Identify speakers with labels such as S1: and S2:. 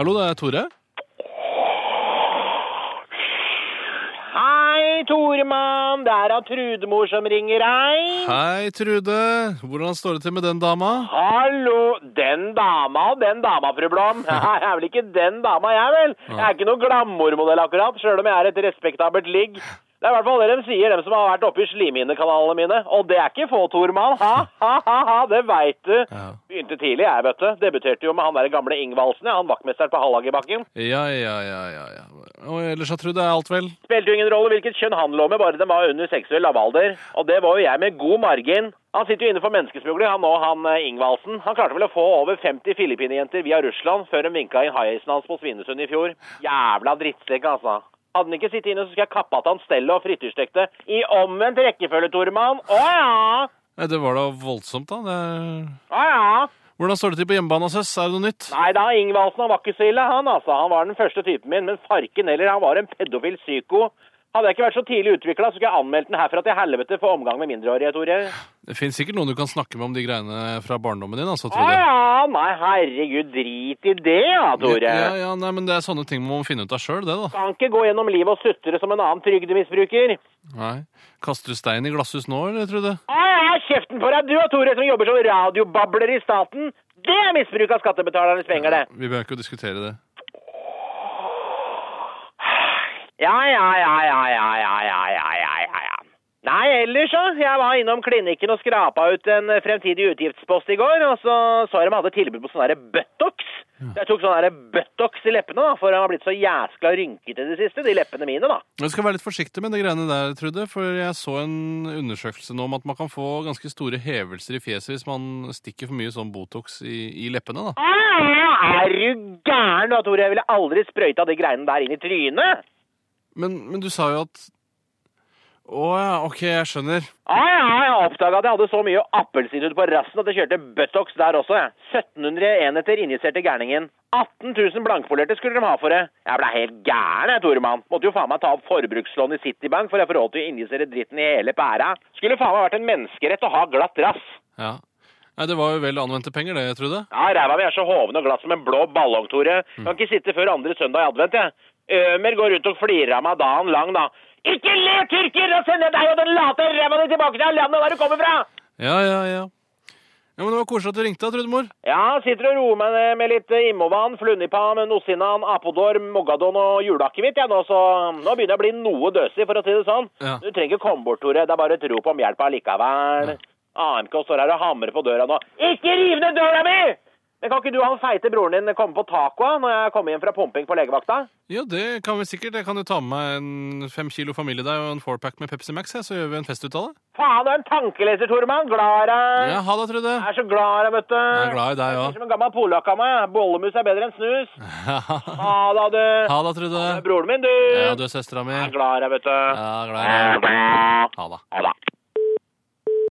S1: Hallo, det er Tore.
S2: Hei, Toremann. Det er av Trudemor som ringer, hei.
S1: Hei, Trude. Hvordan står det til med den dama?
S2: Hallo. Den dama og den dama, fru Blom. Jeg er vel ikke den dama, jeg, vel? Jeg er ikke noe glamourmodell akkurat, sjøl om jeg er et respektabelt ligg. Det er i hvert fall det de sier, dem som har vært oppe i slimhinnekanalene mine. Og det er ikke få, Toremann. Ha, ha, ha, ha, det veit du.
S1: Ja.
S2: Begynte tidlig, jeg, vet du. Debuterte jo med han der gamle Ingvaldsen, ja, han vaktmesteren på Hallagerbakken.
S1: Ja, ja, ja, ja. ja. Og ellers, ja, Trude, er alt vel?
S2: Spilte jo ingen rolle hvilket kjønn han lå med, bare den var under seksuell lavalder. Og det var jo jeg med god margin. Han sitter jo inne for menneskesmugling, han nå, han eh, Ingvaldsen. Han klarte vel å få over 50 filippinejenter via Russland før de vinka inn haisen hans på Svinesund i fjor. Jævla drittsekk, altså. Hadde han ikke sittet inne, så skulle jeg kappa til han stellet og frityrstekte i omvendt rekkefølge, Toremann. Å ja!
S1: Nei, Det var da voldsomt, da. Det...
S2: Å ja!
S1: Hvordan står det til på hjemmebane hos oss? Er det noe nytt?
S2: Nei da, Ingvaldsen han var ikke så ille, han altså. Han var den første typen min, men farken heller, han var en pedofil psyko. Hadde jeg ikke vært så tidlig utvikla, skulle jeg anmeldt den herfra til helvete for omgang med mindreårige, Tore.
S1: Det finnes sikkert noen du kan snakke med om de greiene fra barndommen din, altså,
S2: Å
S1: Trude.
S2: ja, nei, herregud, drit i det, ja, Tore.
S1: Ja, ja, nei, men det er sånne ting man må finne ut av sjøl, det, da.
S2: Kan ikke gå gjennom livet og sutre som en annen trygdemisbruker.
S1: Nei. Kaster du stein i glasshus nå, eller, Trude?
S2: Å ja, kjeften på deg, du og Tore, som jobber som radiobabler i staten. Det er misbruk av skattebetalernes penger, det.
S1: Vi behøver ikke å diskutere det.
S2: Ja, ja, ja, ja, ja, ja, ja, ja, ja, ja, ja. Nei, ellers så. Jeg var innom klinikken og skrapa ut en eh, fremtidig utgiftspost i går, og så så jeg de hadde tilbud på sånn derre Buttox. Så Jeg tok sånn derre Buttox i leppene, da, for de har blitt så jæskla rynkete i det siste, de leppene mine, da.
S1: Jeg skal være litt forsiktig med de greiene der, Trude, for jeg så en undersøkelse nå om at man kan få ganske store hevelser i fjeset hvis man stikker for mye sånn Botox i, i leppene, da.
S2: Ah, Er du gæren, da, Tore? Jeg ville aldri sprøyta de greiene der inn i trynet.
S1: Men, men du sa jo at Å ja, ok, jeg skjønner.
S2: Ja, ja, jeg oppdaga at jeg hadde så mye appelsinhud på rassen at jeg kjørte Buttox der også. jeg. 1700 enheter injiserte gærningen. 18 000 blankpolerte skulle de ha for det. Jeg ble helt gæren, jeg, Toremann. Måtte jo faen meg ta opp forbrukslån i Citibank for jeg får råd til å injisere dritten i hele pæra. Skulle faen meg vært en menneskerett å ha glatt rass.
S1: Ja. Nei, det var jo vel anvendte penger, det, Trude.
S2: Ja, ræva mi er så hoven og glatt som en blå ballong, Tore. Kan ikke sitte før andre søndag i advent, jeg. Ømer går rundt og flirer av meg dagen lang, da. Ikke le, tyrker! Da sender jeg deg og den late ræva di tilbake til landet der du kommer fra!
S1: Ja, ja, ja. Ja, men Det var koselig at du ringte, da, Trudemor.
S2: Ja, sitter og roer meg ned med litt Immovan, Flunnipan, Nossinan, Apodor, Mogadon og juleakevitt, jeg nå, så nå begynner jeg å bli noe døsig, for å si det sånn.
S1: Ja.
S2: Du trenger ikke komme bort, Tore, det er bare et rop om hjelp allikevel. AMK står her og hamrer på døra nå. Ikke riv ned døra mi! Men kan ikke du og han feite broren din komme på tacoa når jeg kommer hjem fra pumping på legevakta?
S1: Ja, det kan vi sikkert. Jeg kan jo ta med meg en fem kilo familiedeig og en fourpack med Pepsi Max, jeg, så gjør vi en fest ut av det.
S2: Faen, du er en tankeleser, Tormann. Glad i deg.
S1: Ja, Ha det, Trude.
S2: Jeg er så glad i deg, vet du.
S1: Jeg er glad i deg
S2: Jeg er
S1: òg.
S2: som en gammel polakk av meg. Bollemus er bedre enn snus. Ha det, du.
S1: ha det, Trude.
S2: Det er broren min, du.
S1: Ja, du er søstera mi.
S2: Jeg er glad i deg, vet du.
S1: Ja, glad i deg. Ha det.
S2: Ha det.